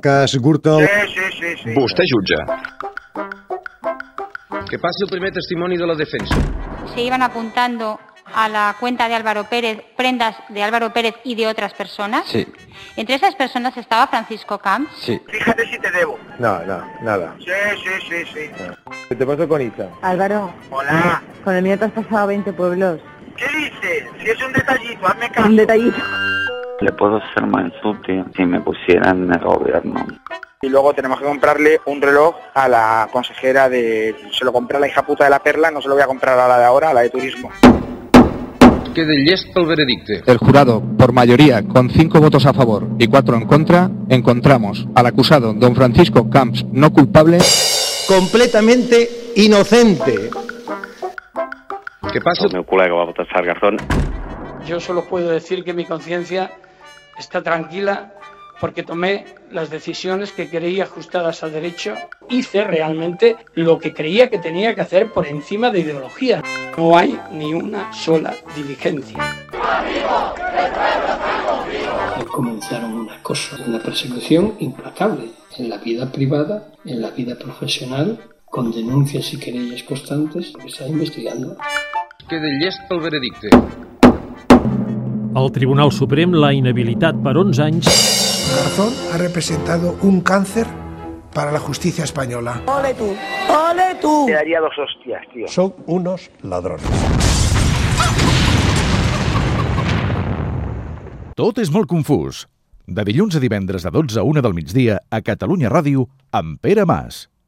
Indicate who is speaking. Speaker 1: cas Gürtel.
Speaker 2: sí, sí, sí.
Speaker 3: Vostè jutja. Que passi el primer testimoni de la defensa.
Speaker 4: se iban apuntando a la cuenta de Álvaro Pérez prendas de Álvaro Pérez y de otras personas.
Speaker 5: Sí,
Speaker 4: Entre esas personas estaba Francisco Camps.
Speaker 5: sí.
Speaker 2: Fíjate si te debo.
Speaker 6: No, no, nada.
Speaker 2: Sí, sí, sí, sí.
Speaker 6: Te paso con Isa.
Speaker 7: Álvaro,
Speaker 2: Hola.
Speaker 7: con el mío te has pasado 20 pueblos.
Speaker 2: ¿Qué dices? Si es un detallito, hazme caso.
Speaker 7: Un detallito.
Speaker 8: Le puedo ser más útil si me pusieran en el gobierno.
Speaker 2: Y luego tenemos que comprarle un reloj a la consejera de... Se lo compré a la hija puta de la perla, no se lo voy a comprar a la de ahora, a la de turismo.
Speaker 3: Quede llest pel veredicte.
Speaker 9: El jurado, por mayoría, con cinco votos a favor y cuatro en contra, encontramos al acusado don Francisco Camps no culpable.
Speaker 6: Completamente inocente.
Speaker 3: Que passi...
Speaker 8: El meu col·lega va votar Garzón.
Speaker 10: Yo solo puedo decir que mi conciencia está tranquila porque tomé las decisiones que creía ajustadas a derecho. Hice realmente lo que creía que tenía que hacer por encima de ideología. No hay ni una sola diligencia. Comenzaron una cosa, una persecución implacable en la vida privada, en la vida profesional, con denuncias y querellas constantes que está investigando.
Speaker 3: Quede llest pel veredicte.
Speaker 11: El Tribunal Suprem l'ha inhabilitat per 11 anys
Speaker 2: Razón ha representado un cáncer para la justicia española.
Speaker 7: ¡Ole tú! ¡Ole tú!
Speaker 2: Te daría dos hostias, tío.
Speaker 6: Son unos ladrones.
Speaker 12: Tot és molt confús. De dilluns a divendres de 12 a 1 del migdia a Catalunya Ràdio amb Pere Mas.